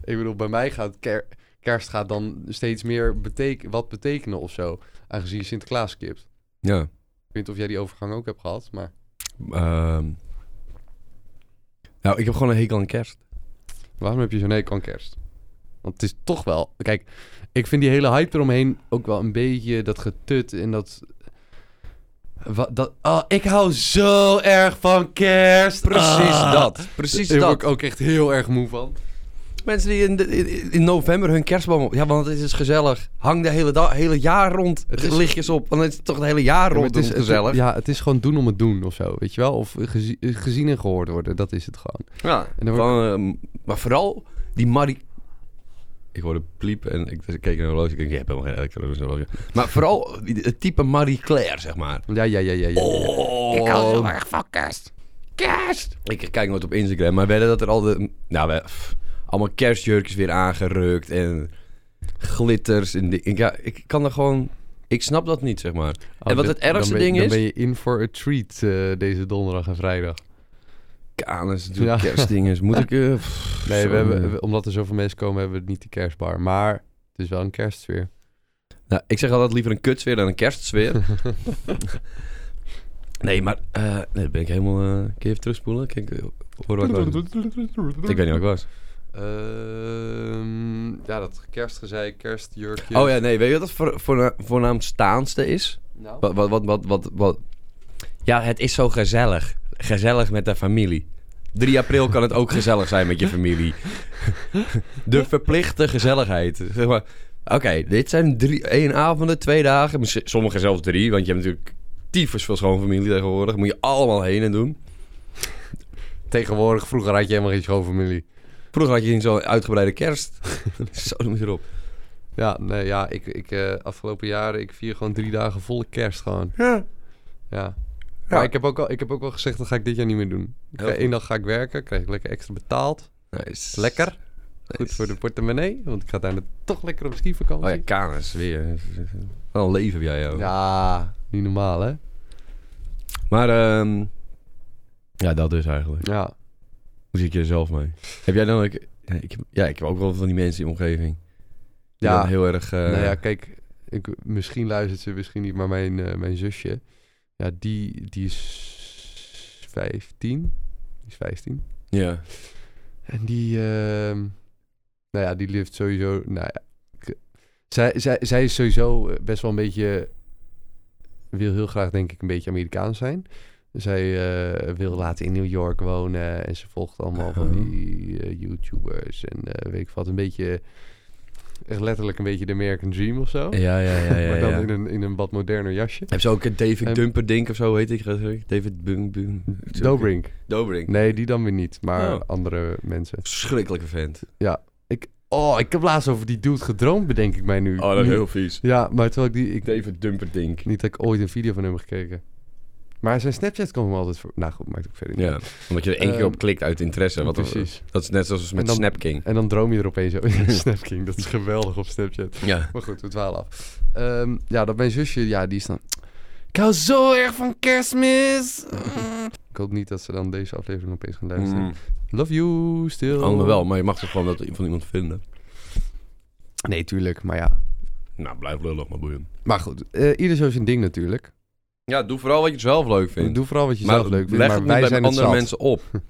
Speaker 2: Ik bedoel, bij mij gaat ker- kerst gaat dan steeds meer beteken wat betekenen of zo. Aangezien je Sinterklaas skipt.
Speaker 1: Ja.
Speaker 2: Ik weet niet of jij die overgang ook hebt gehad, maar...
Speaker 1: ehm. nou, ik heb gewoon een hekel aan kerst.
Speaker 2: Waarom heb je zo'n hekel aan kerst? Want het is toch wel... Kijk, ik vind die hele hype eromheen ook wel een beetje dat getut en dat... Wat, dat oh, ik hou zo erg van kerst. Ah.
Speaker 1: Precies
Speaker 2: Daar word ik ook echt heel erg moe van.
Speaker 1: Mensen die in, de- in, in november hun kerstboom op... Ja, want het is gezellig. Hang de hele, dag, hele jaar rond
Speaker 2: Het is-
Speaker 1: lichtjes op. Want het is toch het hele jaar
Speaker 2: Ja, maar
Speaker 1: rond
Speaker 2: het is-
Speaker 1: doen
Speaker 2: het-
Speaker 1: gezellig. ja.
Speaker 2: ja, het is gewoon doen om het doen of zo, weet je wel? Of gezi- gezien en gehoord worden, dat is het gewoon. En dan word
Speaker 1: Van, ehm, maar vooral die Marie... Ik hoorde pliep en ik, dus ik keek naar een horloge. Ik denk, je hebt helemaal geen elektronische horloge. Maar vooral die- het type Marie Claire, zeg maar.
Speaker 2: Ja, ja, ja, ja, ja. ja.
Speaker 1: Oh.
Speaker 2: erg van kerst. Kerst!
Speaker 1: Ik kijk nooit op Instagram, maar werden dat er al de... Nou, we, pff, allemaal kerstjurkjes weer aangerukt en glitters. En di- ik, ja, ik kan er gewoon... Ik snap dat niet, zeg maar.
Speaker 2: Oh,
Speaker 1: En wat
Speaker 2: dit-
Speaker 1: het ergste
Speaker 2: dan ben, je-
Speaker 1: ding is-
Speaker 2: Dan ben je in voor a treat eh, deze donderdag en vrijdag.
Speaker 1: Kanus, natuurlijk
Speaker 2: Ja.
Speaker 1: kerstdingen. Moet ik... eh, pff,
Speaker 2: Nee, we
Speaker 1: zo.
Speaker 2: hebben, we- omdat er zoveel mensen komen, hebben we niet die kerstbar. Maar het is wel een kerstsfeer.
Speaker 1: Nou, ik zeg altijd liever een kutsfeer dan een kerstsfeer. nee, maar... eh, nee, dat ben ik helemaal... eh, kun je even terugspoelen? Kan ik, hoor wat ik wou doen? ik weet niet wat ik was.
Speaker 2: Ehm, ja, dat kerstgezeik, kerstjurkje.
Speaker 1: Oh ja, nee. Weet je wat het voor, voorna- voornaamst staanste is?
Speaker 2: Nou.
Speaker 1: Wat, wat, wat, wat, wat, wat- Ja, het is zo gezellig. Gezellig met de familie. 3 april kan het ook gezellig zijn met je familie. De verplichte gezelligheid. Zeg maar, Oké, dit zijn drie, één avonden, twee dagen. misschien- Sommige zelfs drie, want je hebt natuurlijk tyfus veel schoonfamilie tegenwoordig. Moet je allemaal heen en doen.
Speaker 2: Tegenwoordig, vroeger had je helemaal geen schoonfamilie.
Speaker 1: Vroeger had je niet zo'n uitgebreide kerst. zo noem je erop.
Speaker 2: Ja, nee, ja, ik, ik eh, afgelopen jaren, ik vier gewoon drie dagen volle kerst gewoon.
Speaker 1: Ja.
Speaker 2: Ja.
Speaker 1: Ja.
Speaker 2: Maar ik heb, ook al, ik heb ook wel gezegd, dat ga ik dit jaar niet meer doen. Ik ga-
Speaker 1: Heel goed.
Speaker 2: Eén dag ga ik werken, krijg ik lekker extra betaald.
Speaker 1: Nice.
Speaker 2: Lekker. Goed voor de portemonnee, want ik ga daarna toch lekker op skivakantie.
Speaker 1: Oh ja, kanus weer. Wat een leven heb jij, joh.
Speaker 2: ja, niet normaal hè?
Speaker 1: Maar, ehm, ja, dat dus eigenlijk.
Speaker 2: Ja.
Speaker 1: Hoe zit je er zelf mee? Heb jij dan ook... Ja, ik heb, ja, ik heb ook wel van die mensen in de omgeving. Die
Speaker 2: Ja.
Speaker 1: dan heel erg... eh,
Speaker 2: Nou ja, kijk, ik, misschien luistert ze, misschien niet, maar mijn, eh, mijn zusje, ja, die, die is 15. Die is 15.
Speaker 1: ja.
Speaker 2: En die, ehm, nou ja, die leeft sowieso, nou ja, ik- zij, zij, zij is sowieso eh, best wel een beetje, wil heel graag denk ik een beetje Amerikaans zijn. Zij eh, wil later in New York wonen en ze volgt allemaal
Speaker 1: Oh.
Speaker 2: van die eh, YouTubers en eh, weet ik wat. Een beetje, echt letterlijk een beetje de American Dream of zo.
Speaker 1: Ja, ja, ja, ja.
Speaker 2: maar dan
Speaker 1: ja.
Speaker 2: In, een, in een wat moderner jasje.
Speaker 1: Heb ze ook een David
Speaker 2: Ehm,
Speaker 1: Dumper Dink of zo, heet ik dat? sorry? David Bung Bung...
Speaker 2: Dobrink.
Speaker 1: Dobrink.
Speaker 2: Nee, die dan weer niet, maar
Speaker 1: Oh.
Speaker 2: andere mensen.
Speaker 1: Verschrikkelijke vent.
Speaker 2: Oh, ik heb laatst over die dude gedroomd, bedenk ik mij nu. Nu-
Speaker 1: vies.
Speaker 2: Ja, maar terwijl ik die... Ik,
Speaker 1: David Dumper Dink.
Speaker 2: niet dat ik ooit een video van hem heb gekeken. Maar zijn Snapchat kwam me altijd voor. Nou goed, maakt ook verder niet.
Speaker 1: Ja, Eh, omdat je er één keer
Speaker 2: Ehm,
Speaker 1: op klikt uit interesse. Wat
Speaker 2: Precies.
Speaker 1: Dat is net zoals
Speaker 2: En
Speaker 1: met
Speaker 2: dan-
Speaker 1: Snapking.
Speaker 2: En dan droom je er opeens over. Snapking, dat is geweldig op Snapchat.
Speaker 1: Ja.
Speaker 2: Maar goed, we dwalen af. Ehm, ja, dat mijn zusje, ja, die is dan... Ik hou zo erg van kerstmis! Mm. ik hoop niet dat ze dan deze aflevering opeens gaan luisteren.
Speaker 1: Mm.
Speaker 2: Love you, still.
Speaker 1: Allemaal wel, maar je mag toch gewoon dat van iemand vinden.
Speaker 2: Nee, tuurlijk, maar ja.
Speaker 1: Nou, blijf lullig, maar boeien.
Speaker 2: Maar goed, eh, ieder zo zijn ding natuurlijk.
Speaker 1: Ja, doe vooral wat je zelf leuk vindt.
Speaker 2: Doe vooral wat je
Speaker 1: maar
Speaker 2: zelf leuk vindt,
Speaker 1: leg
Speaker 2: maar
Speaker 1: het
Speaker 2: wij
Speaker 1: niet bij
Speaker 2: zijn het
Speaker 1: andere
Speaker 2: zat.
Speaker 1: mensen op.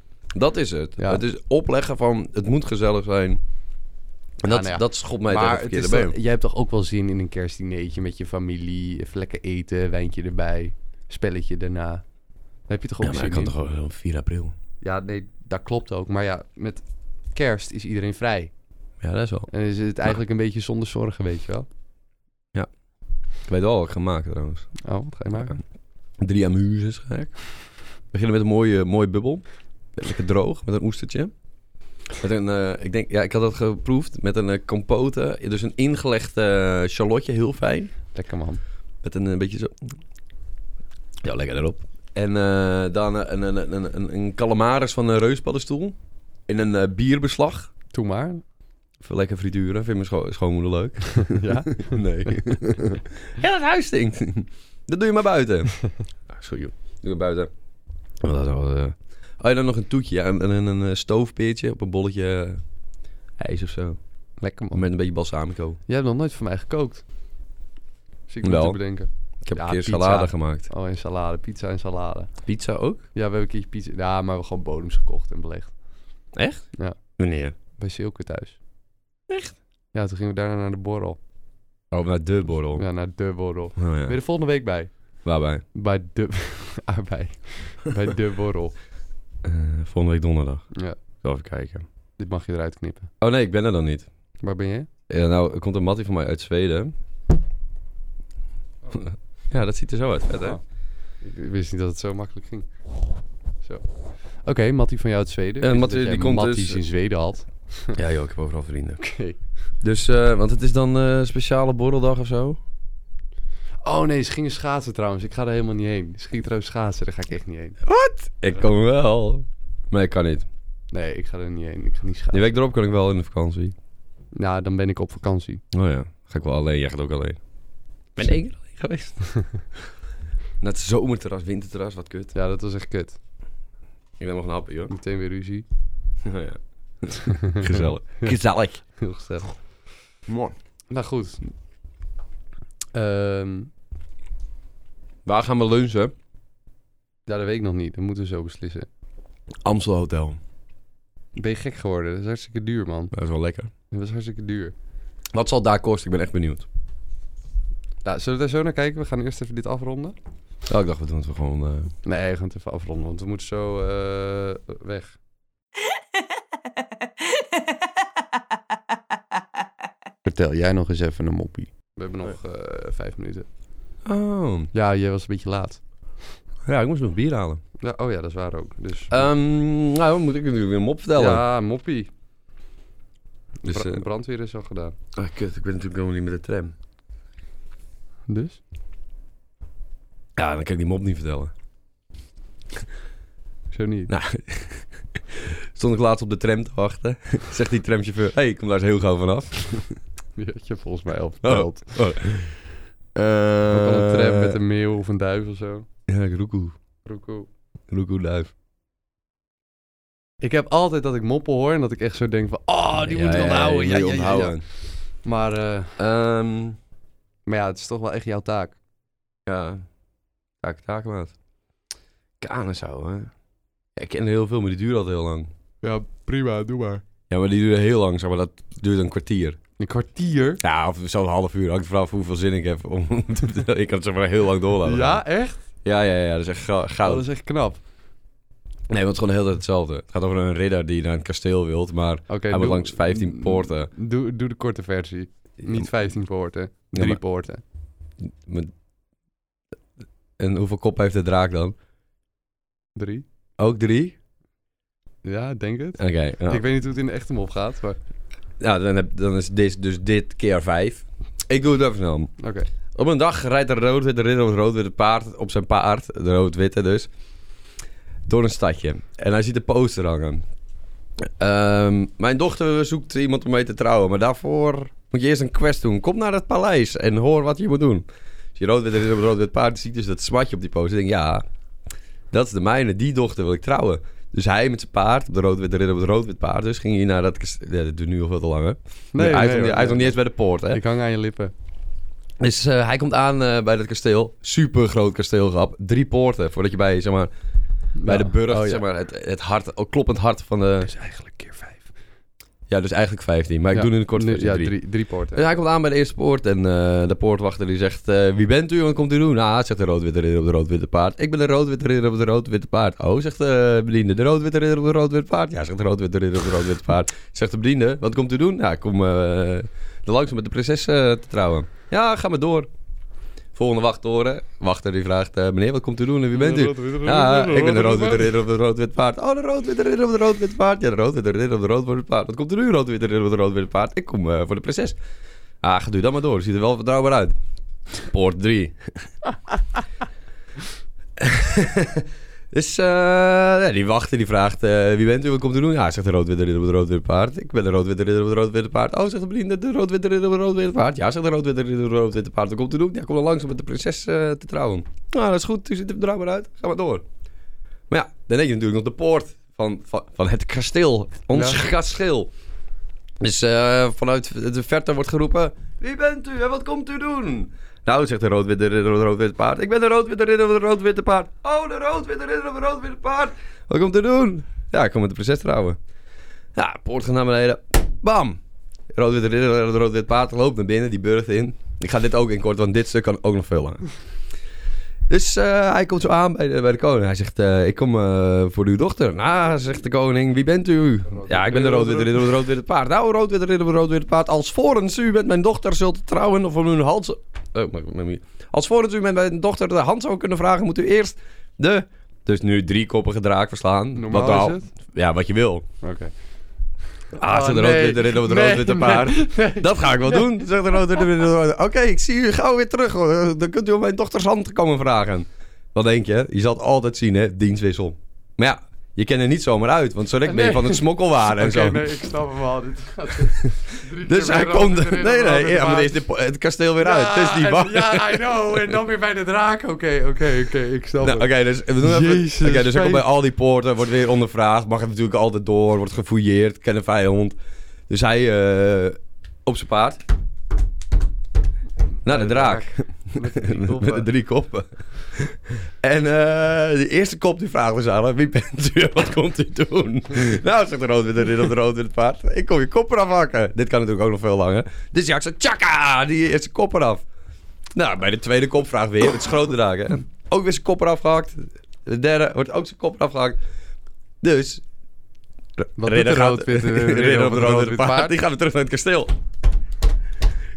Speaker 1: Dat is het.
Speaker 2: Ja.
Speaker 1: Het is opleggen van, het moet gezellig zijn. En dat,
Speaker 2: nou ja.
Speaker 1: dat schopt mij tegen de
Speaker 2: Maar het
Speaker 1: verkeerde
Speaker 2: is
Speaker 1: been.
Speaker 2: toch- jij hebt toch ook wel zin in een kerstdineetje met je familie, even lekker eten, wijntje erbij, spelletje daarna. Daar heb je toch ook
Speaker 1: Ja, maar
Speaker 2: zin
Speaker 1: dat kan
Speaker 2: in?
Speaker 1: toch gewoon op 4 april?
Speaker 2: Ja, nee, dat klopt ook. Maar ja, met kerst is iedereen vrij.
Speaker 1: Ja, dat is wel.
Speaker 2: En is het eigenlijk een beetje zonder zorgen, weet je wel.
Speaker 1: Ik weet wel wat ik ga maken trouwens.
Speaker 2: Oh, wat ga je maken?
Speaker 1: Drie amuses ga ik. We beginnen met een mooie, mooie bubbel. Lekker droog, met een oestertje. Met een, eh, ik denk, ja, ik had dat geproefd met een eh, compote. Dus een ingelegd eh shallotje, heel fijn.
Speaker 2: Lekker man.
Speaker 1: Met een, eh, beetje zo... Ja, lekker erop. En eh, dan eh, een, een, een, een, een calamaris van een reuspaddenstoel. In een eh, bierbeslag.
Speaker 2: Doe maar.
Speaker 1: Even lekker frituren. Vind mijn scho- schoonmoeder leuk.
Speaker 2: ja?
Speaker 1: Nee. ja, dat huis stinkt. Dat doe je maar buiten. Ah, sorry joh. Doe je buiten. Oh, dat is wel, eh. Oh, en dan nog een toetje. Ja, en, en een eh, stoofpeertje op een bolletje eh, ijs of zo.
Speaker 2: Lekker man.
Speaker 1: Met een beetje balsamico.
Speaker 2: Jij hebt nog nooit voor mij gekookt. Dus ik moet
Speaker 1: Wel.
Speaker 2: te bedenken.
Speaker 1: Ik heb
Speaker 2: Ja,
Speaker 1: een keer
Speaker 2: pizza.
Speaker 1: salade gemaakt.
Speaker 2: Oh, en salade. Pizza en salade.
Speaker 1: Pizza ook?
Speaker 2: Ja, we hebben een keertje pizza... Ja, maar we hebben gewoon bodems gekocht en belegd.
Speaker 1: Echt?
Speaker 2: Ja.
Speaker 1: Wanneer?
Speaker 2: Bij Silke thuis. Echt? Ja, toen gingen we daarna naar de borrel.
Speaker 1: Oh, naar de borrel.
Speaker 2: Ja, naar de borrel.
Speaker 1: Oh, ja.
Speaker 2: Weer de volgende week bij.
Speaker 1: Waarbij?
Speaker 2: Bij de... ah, bij. bij de borrel.
Speaker 1: Eh, volgende week donderdag.
Speaker 2: Ja,
Speaker 1: Zal even kijken.
Speaker 2: dit mag je eruit knippen.
Speaker 1: Oh nee, ik ben er dan niet.
Speaker 2: Waar ben je?
Speaker 1: Ja, nou, er komt een mattie van mij uit Zweden. Oh. ja, dat ziet er zo uit. Vet, hè?
Speaker 2: Oh. Ik wist niet dat het zo makkelijk ging. Zo. Oké, Mattie van jou uit Zweden.
Speaker 1: Ja,
Speaker 2: Wist
Speaker 1: Eh, Mattie,
Speaker 2: dat jij
Speaker 1: die komt
Speaker 2: Matties
Speaker 1: dus-
Speaker 2: in Zweden had.
Speaker 1: Ja joh, ik heb overal vrienden.
Speaker 2: Oké.
Speaker 1: Dus, eh, want het is dan eh, speciale borreldag of zo?
Speaker 2: Oh nee, ze gingen schaatsen trouwens. Ik ga er helemaal niet heen. Ze gingen trouwens schaatsen, daar ga ik echt niet heen.
Speaker 1: Ik kan wel. Maar ik kan niet.
Speaker 2: Nee, ik ga er niet heen. Ik ga niet
Speaker 1: Die
Speaker 2: schaatsen.
Speaker 1: week erop kan ik wel in de vakantie.
Speaker 2: Nou, dan ben ik op vakantie.
Speaker 1: Oh ja, ga ik wel alleen. Jij gaat ook alleen. Ben één keer alleen geweest. Naar het zomerterras, winterterras, wat kut.
Speaker 2: Ja, dat was echt kut.
Speaker 1: Ik ben nog een hapje hoor.
Speaker 2: Meteen weer ruzie.
Speaker 1: Oh, ja. Gezellig. Gezellig.
Speaker 2: Heel gezellig.
Speaker 1: Mooi.
Speaker 2: Nou goed. Ehm,
Speaker 1: Waar gaan we lunchen?
Speaker 2: ja, dat weet ik nog niet. Dat moeten we zo beslissen.
Speaker 1: Amstel Hotel.
Speaker 2: Ben je gek geworden? Dat is hartstikke duur, man.
Speaker 1: Dat is wel lekker.
Speaker 2: Dat was hartstikke duur.
Speaker 1: Wat zal daar kosten? Ik ben echt benieuwd.
Speaker 2: Nou, zullen we daar zo naar kijken? We gaan eerst even dit afronden.
Speaker 1: Oh, ik dacht, we doen het gewoon... eh,
Speaker 2: Nee, we gaan het even afronden, want we moeten zo eh, weg. Vertel jij nog eens even een moppie. We hebben nog eh, vijf minuten.
Speaker 1: Oh,
Speaker 2: Ja, jij was een beetje laat.
Speaker 1: ja, ik moest nog bier halen.
Speaker 2: Ja, oh ja, dat is waar ook. Dus,
Speaker 1: Ehm, nou, dan moet ik natuurlijk weer een mop vertellen.
Speaker 2: ja, moppie.
Speaker 1: Dus,
Speaker 2: Bra-
Speaker 1: eh,
Speaker 2: brandweer is al gedaan.
Speaker 1: Ah, kut, ik ben natuurlijk helemaal niet met de tram.
Speaker 2: Dus?
Speaker 1: Ja, dan kan ik die mop niet vertellen.
Speaker 2: Zo niet.
Speaker 1: Nou, stond ik laatst op de tram te wachten. Zegt die tramchauffeur, hé, hey, ik kom daar eens heel gauw vanaf.
Speaker 2: Je had je volgens mij al verteld.
Speaker 1: Oh.
Speaker 2: Ook al een tram met
Speaker 1: Eh,
Speaker 2: een meeuw of een duif of zo.
Speaker 1: Ja, roekoe.
Speaker 2: Roekoe.
Speaker 1: Roekoe duif.
Speaker 2: Ik heb altijd dat ik moppen hoor en dat ik echt zo denk van... Oh, die
Speaker 1: Ja,
Speaker 2: moet ik
Speaker 1: ja,
Speaker 2: onthouden.
Speaker 1: die
Speaker 2: Ja,
Speaker 1: moet
Speaker 2: ja,
Speaker 1: je
Speaker 2: ja, ja.
Speaker 1: onthouden.
Speaker 2: Maar, eh,
Speaker 1: Ehm,
Speaker 2: maar ja, het is toch wel echt jouw taak.
Speaker 1: ja, taak, taakmaat. Kanen zou, hè. Ja, ik ken er heel veel, maar die duurt altijd heel lang.
Speaker 2: Ja, prima, doe maar.
Speaker 1: Ja, maar die duurt heel lang, zeg maar. Dat duurt een kwartier.
Speaker 2: Een kwartier?
Speaker 1: Ja, of zo'n half uur. Hangt vanaf hoeveel zin ik heb. Om, te vertellen. ik kan het zeg maar heel lang door laten gaan.
Speaker 2: Ja, echt?
Speaker 1: Ja, ja, ja, dat is echt gau-
Speaker 2: Oh,
Speaker 1: goud.
Speaker 2: dat is echt knap.
Speaker 1: Nee, want het is gewoon de hele tijd hetzelfde. Het gaat over een ridder die naar een kasteel wilt, maar
Speaker 2: Oké.
Speaker 1: hij moet
Speaker 2: doe-
Speaker 1: langs 15 poorten.
Speaker 2: Doe, doe de korte versie. Niet 15 poorten.
Speaker 1: Ja,
Speaker 2: Drie
Speaker 1: maar-
Speaker 2: poorten.
Speaker 1: Met- En hoeveel kop heeft de draak dan?
Speaker 2: Drie?
Speaker 1: Ook drie?
Speaker 2: Ja, denk het.
Speaker 1: Oké. nou.
Speaker 2: Ik weet niet hoe het in de echte mop gaat, maar...
Speaker 1: Nou, dan, heb, dan is dit dus dit keer vijf. Ik doe het even snel.
Speaker 2: Oké.
Speaker 1: Op een dag rijdt een rood-witte ridder op een rood-witte paard, op zijn paard, de rood-witte dus, door een stadje. En hij ziet een poster hangen. Ehm, mijn dochter zoekt iemand om mee te trouwen, maar daarvoor moet je eerst een quest doen. Kom naar het paleis en hoor wat je moet doen. Dus je rood-witte ridder op een rood-wit paard ziet dus dat smatje op die poster. Denk ja, dat is de mijne, die dochter wil ik trouwen. Dus hij met zijn paard, op de rood-witte ridder op het rood-wit paard, dus ging hij naar dat... kas- Ja, dat duurt nu al veel te lang, hè?
Speaker 2: Nee,
Speaker 1: hij is nog
Speaker 2: nee,
Speaker 1: niet- hij is nog
Speaker 2: hoor.
Speaker 1: niet eens bij de poort, hè?
Speaker 2: Ik hang aan je lippen.
Speaker 1: Dus eh, hij komt aan eh, bij dat kasteel. Super groot kasteel gehad. Drie poorten voordat je bij, zeg maar, bij
Speaker 2: Nou.
Speaker 1: de
Speaker 2: Oh,
Speaker 1: burcht, zeg maar, het, het hart, ook kloppend hart van de...
Speaker 2: is eigenlijk keer vijf.
Speaker 1: Ja, dus eigenlijk 15. Maar ik doe nu een korte
Speaker 2: nu-
Speaker 1: versie
Speaker 2: Ja,
Speaker 1: drie.
Speaker 2: drie, drie poorten.
Speaker 1: Dus hij komt aan bij de eerste poort en eh, de poortwachter die zegt... eh, Wie bent u? Wat komt u doen? Nou, zegt de rood-witte ridder op de rood-witte paard. Ik ben de rood-witte ridder op de rood-witte paard. Oh, zegt de bediende. De rood-witte ridder op de rood-witte paard. Ja, zegt de rood-witte ridder op de rood-witte paard. Zegt de bediende. Wat komt u doen? Nou, ik kom eh, er langs om met de prinses eh, te trouwen. Ja, ga maar door. Volgende wachttoren. Wachter die vraagt... eh, meneer, wat komt u doen en wie bent u? Ja, ik ben de rood-witte ridder op de rood-wit paard. Oh, de rood-witte ridder op de rood-wit paard. Ja, de rood-witte ridder op de rood-wit paard. Wat komt er nu, rood-witte ridder op de rood-wit paard? Ik kom eh, voor de prinses. Ah, ga doe dan maar door. Ziet er wel vertrouwbaar uit. Poort 3. dus eh, ja, die wachter die vraagt, eh, wie bent u, wat komt u doen? Ja, zegt de rood-witte ridder op het rood-witte paard. Ik ben de rood-witte ridder op het rood-witte paard. Oh, zegt de bediende, de rood-witte ridder op het rood-witte paard. Ja, zegt de rood-witte ridder op het rood-witte paard. Wat komt u doen? Ja, kom dan langs om met de prinses eh, te trouwen. Nou, dat is goed, u ziet er vertrouwbaar uit. Ga maar door. Maar ja, dan heb je natuurlijk nog de poort van, van, van het kasteel. Ons kasteel. Dus eh, vanuit de verte wordt geroepen... Wie bent u en wat komt u doen? Nou, zegt de rood-witte ridder op het rood-witte paard. Ik ben de rood-witte ridder op het rood-witte paard. Oh, de rood-witte ridder op het rood-witte paard. Wat komt u doen? Ja, ik kom met de prinses trouwen. Ja, poort gaat naar beneden. Bam! Rood-witte ridder op het rood-witte paard loopt naar binnen, die burcht in. Ik ga dit ook in kort, want dit stuk kan ook nog veel langer. Dus eh, hij komt zo aan bij de, bij de koning. Hij zegt, eh, ik kom eh, voor uw dochter. Nou, zegt de koning, wie bent u? Ja, ik ben de rood-witte ridder op het rood-witte paard. Nou, rood-witte ridder op het rood-witte paard. Als voorens u met mijn dochter zult trouwen of om hun hand... Oh, maar, maar- maar- als voorens u met mijn dochter de hand zou kunnen vragen, moet u eerst de... Dus nu driekoppige draak verslaan.
Speaker 2: Normaal
Speaker 1: Wat nou-
Speaker 2: is het?
Speaker 1: Ja, wat je wil.
Speaker 2: Oké.
Speaker 1: Ah, zegt de
Speaker 2: Oh, nee.
Speaker 1: rood-witte ridder op het
Speaker 2: Nee,
Speaker 1: rood-witte
Speaker 2: nee,
Speaker 1: paard. Dat ga ik wel doen, zegt de rood-witte ridder. op het rood- Oké, ik zie u gauw weer terug. hoor. Dan kunt u om mijn dochters hand komen vragen. Wat denk je? Je zal het altijd zien, hè? Dienstwissel. Maar ja, je kent er niet zomamer uit, want zo direct ben je
Speaker 2: Nee.
Speaker 1: van het smokkelwaar en
Speaker 2: Oké,
Speaker 1: zo.
Speaker 2: nee, ik snap hem al. Dit gaat drie
Speaker 1: Dus
Speaker 2: keer
Speaker 1: hij
Speaker 2: weer
Speaker 1: komt...
Speaker 2: rood,
Speaker 1: Nee,
Speaker 2: weer
Speaker 1: nee,
Speaker 2: rood, weer
Speaker 1: ja, maar
Speaker 2: rood.
Speaker 1: deze de po- het kasteel weer uit. Het is die
Speaker 2: en-
Speaker 1: bang.
Speaker 2: Ja, I know. En dan weer bij de draak. Oké, oké, oké. ik snap
Speaker 1: Nou,
Speaker 2: het.
Speaker 1: Oké, dus we doen
Speaker 2: Jezus,
Speaker 1: even. Oké, dus hij komt bij
Speaker 2: vijf-
Speaker 1: al die poorten, wordt weer ondervraagd, mag het natuurlijk altijd door, wordt gefouilleerd, ken een vijand. Dus hij eh, op zijn paard. Naar de draak.
Speaker 2: Met de
Speaker 1: Met de
Speaker 2: drie koppen.
Speaker 1: drie koppen. En eh, de eerste kop die vraagt dus aan hem, wie bent u en wat komt u doen? nou, zegt de rood witte ridder op de rood witte paard, ik kom je kop eraf hakken. Dit kan natuurlijk ook nog veel langer. Dus ja, ik zeg, tjaka, die eerste kop eraf. Nou, bij de tweede kop vraagt weer, het is grote draak hè. Ook weer zijn kop eraf gehakt. De derde wordt ook zijn kop eraf gehakt. Dus...
Speaker 2: Wat
Speaker 1: Ridder
Speaker 2: doet de
Speaker 1: gaat-
Speaker 2: rood-witte
Speaker 1: ridder op de rood witte paard, die gaat weer terug naar het kasteel.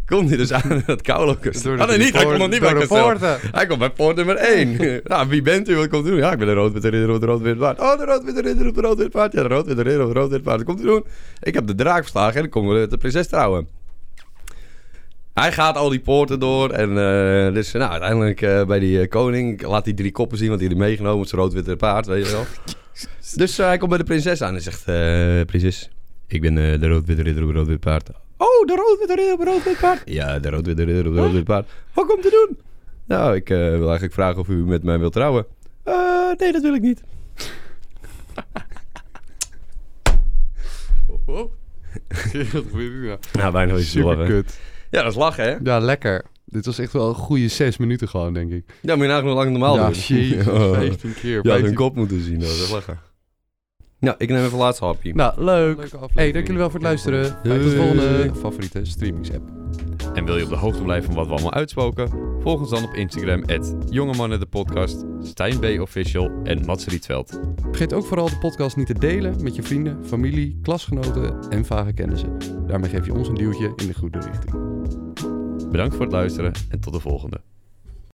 Speaker 1: Komt hij dus aan in dat koude kasteel? Ah, nee, niet. Hij komt nog niet bij het kasteel. Hij komt bij poort nummer 1. nou, wie bent u? Wat komt u doen? Ja, ik ben de rood-witte ridder op de rood-wit paard. Oh, de rood-witte ridder op de rood-wit paard. Ja, de rood-witte ridder op de rood-wit paard. Wat komt u doen? Ik heb de draak verslagen en ik kom met de prinses trouwen. Hij gaat al die poorten door en eh, dus nou, uiteindelijk eh, bij die eh, koning laat hij drie koppen zien, want die had hij meegenomen met zijn rood-witte paard, weet je wel. dus eh, hij komt bij de prinses aan en zegt, eh, prinses, ik ben eh, de rood-witte ridder op het rood-wit paard. Oh, de rood-witte ridder op het rood-wit paard. Ja, de rood-witte ridder op het rood-wit paard. Wat komt te doen? Nou, ik eh, wil eigenlijk vragen of u met mij wilt trouwen. Eh, nee, dat wil ik niet.
Speaker 2: Wow. Wat gebeurt hier nou?
Speaker 1: Nou, bijna is
Speaker 2: Super kut.
Speaker 1: Ja, dat is lachen, hè?
Speaker 2: Ja, lekker. Dit was echt wel een goede zes minuten gewoon, denk ik.
Speaker 1: Ja, moet je nagaan hoe lang normaal
Speaker 2: ja,
Speaker 1: doen.
Speaker 2: jezus,
Speaker 1: Oh.
Speaker 2: 15 keer.
Speaker 1: Je had
Speaker 2: 15
Speaker 1: hun kop moeten zien, hoor. dat is lachen. Nou, ik neem even het laatste hapje.
Speaker 2: Nou, leuk.
Speaker 1: Leuke aflevering.
Speaker 2: Hey, dank jullie wel voor het luisteren. Tot de
Speaker 1: Doei.
Speaker 2: volgende favoriete streamingsapp.
Speaker 1: En wil je op de hoogte blijven van wat we allemaal uitspoken? Volg ons dan op Instagram, at Jongemannen de Podcast, Stijn B. Official en Mats Rietveld.
Speaker 2: Vergeet ook vooral de podcast niet te delen met je vrienden, familie, klasgenoten en vage kennissen. Daarmee geef je ons een duwtje in de goede richting.
Speaker 1: Bedankt voor het luisteren en tot de volgende.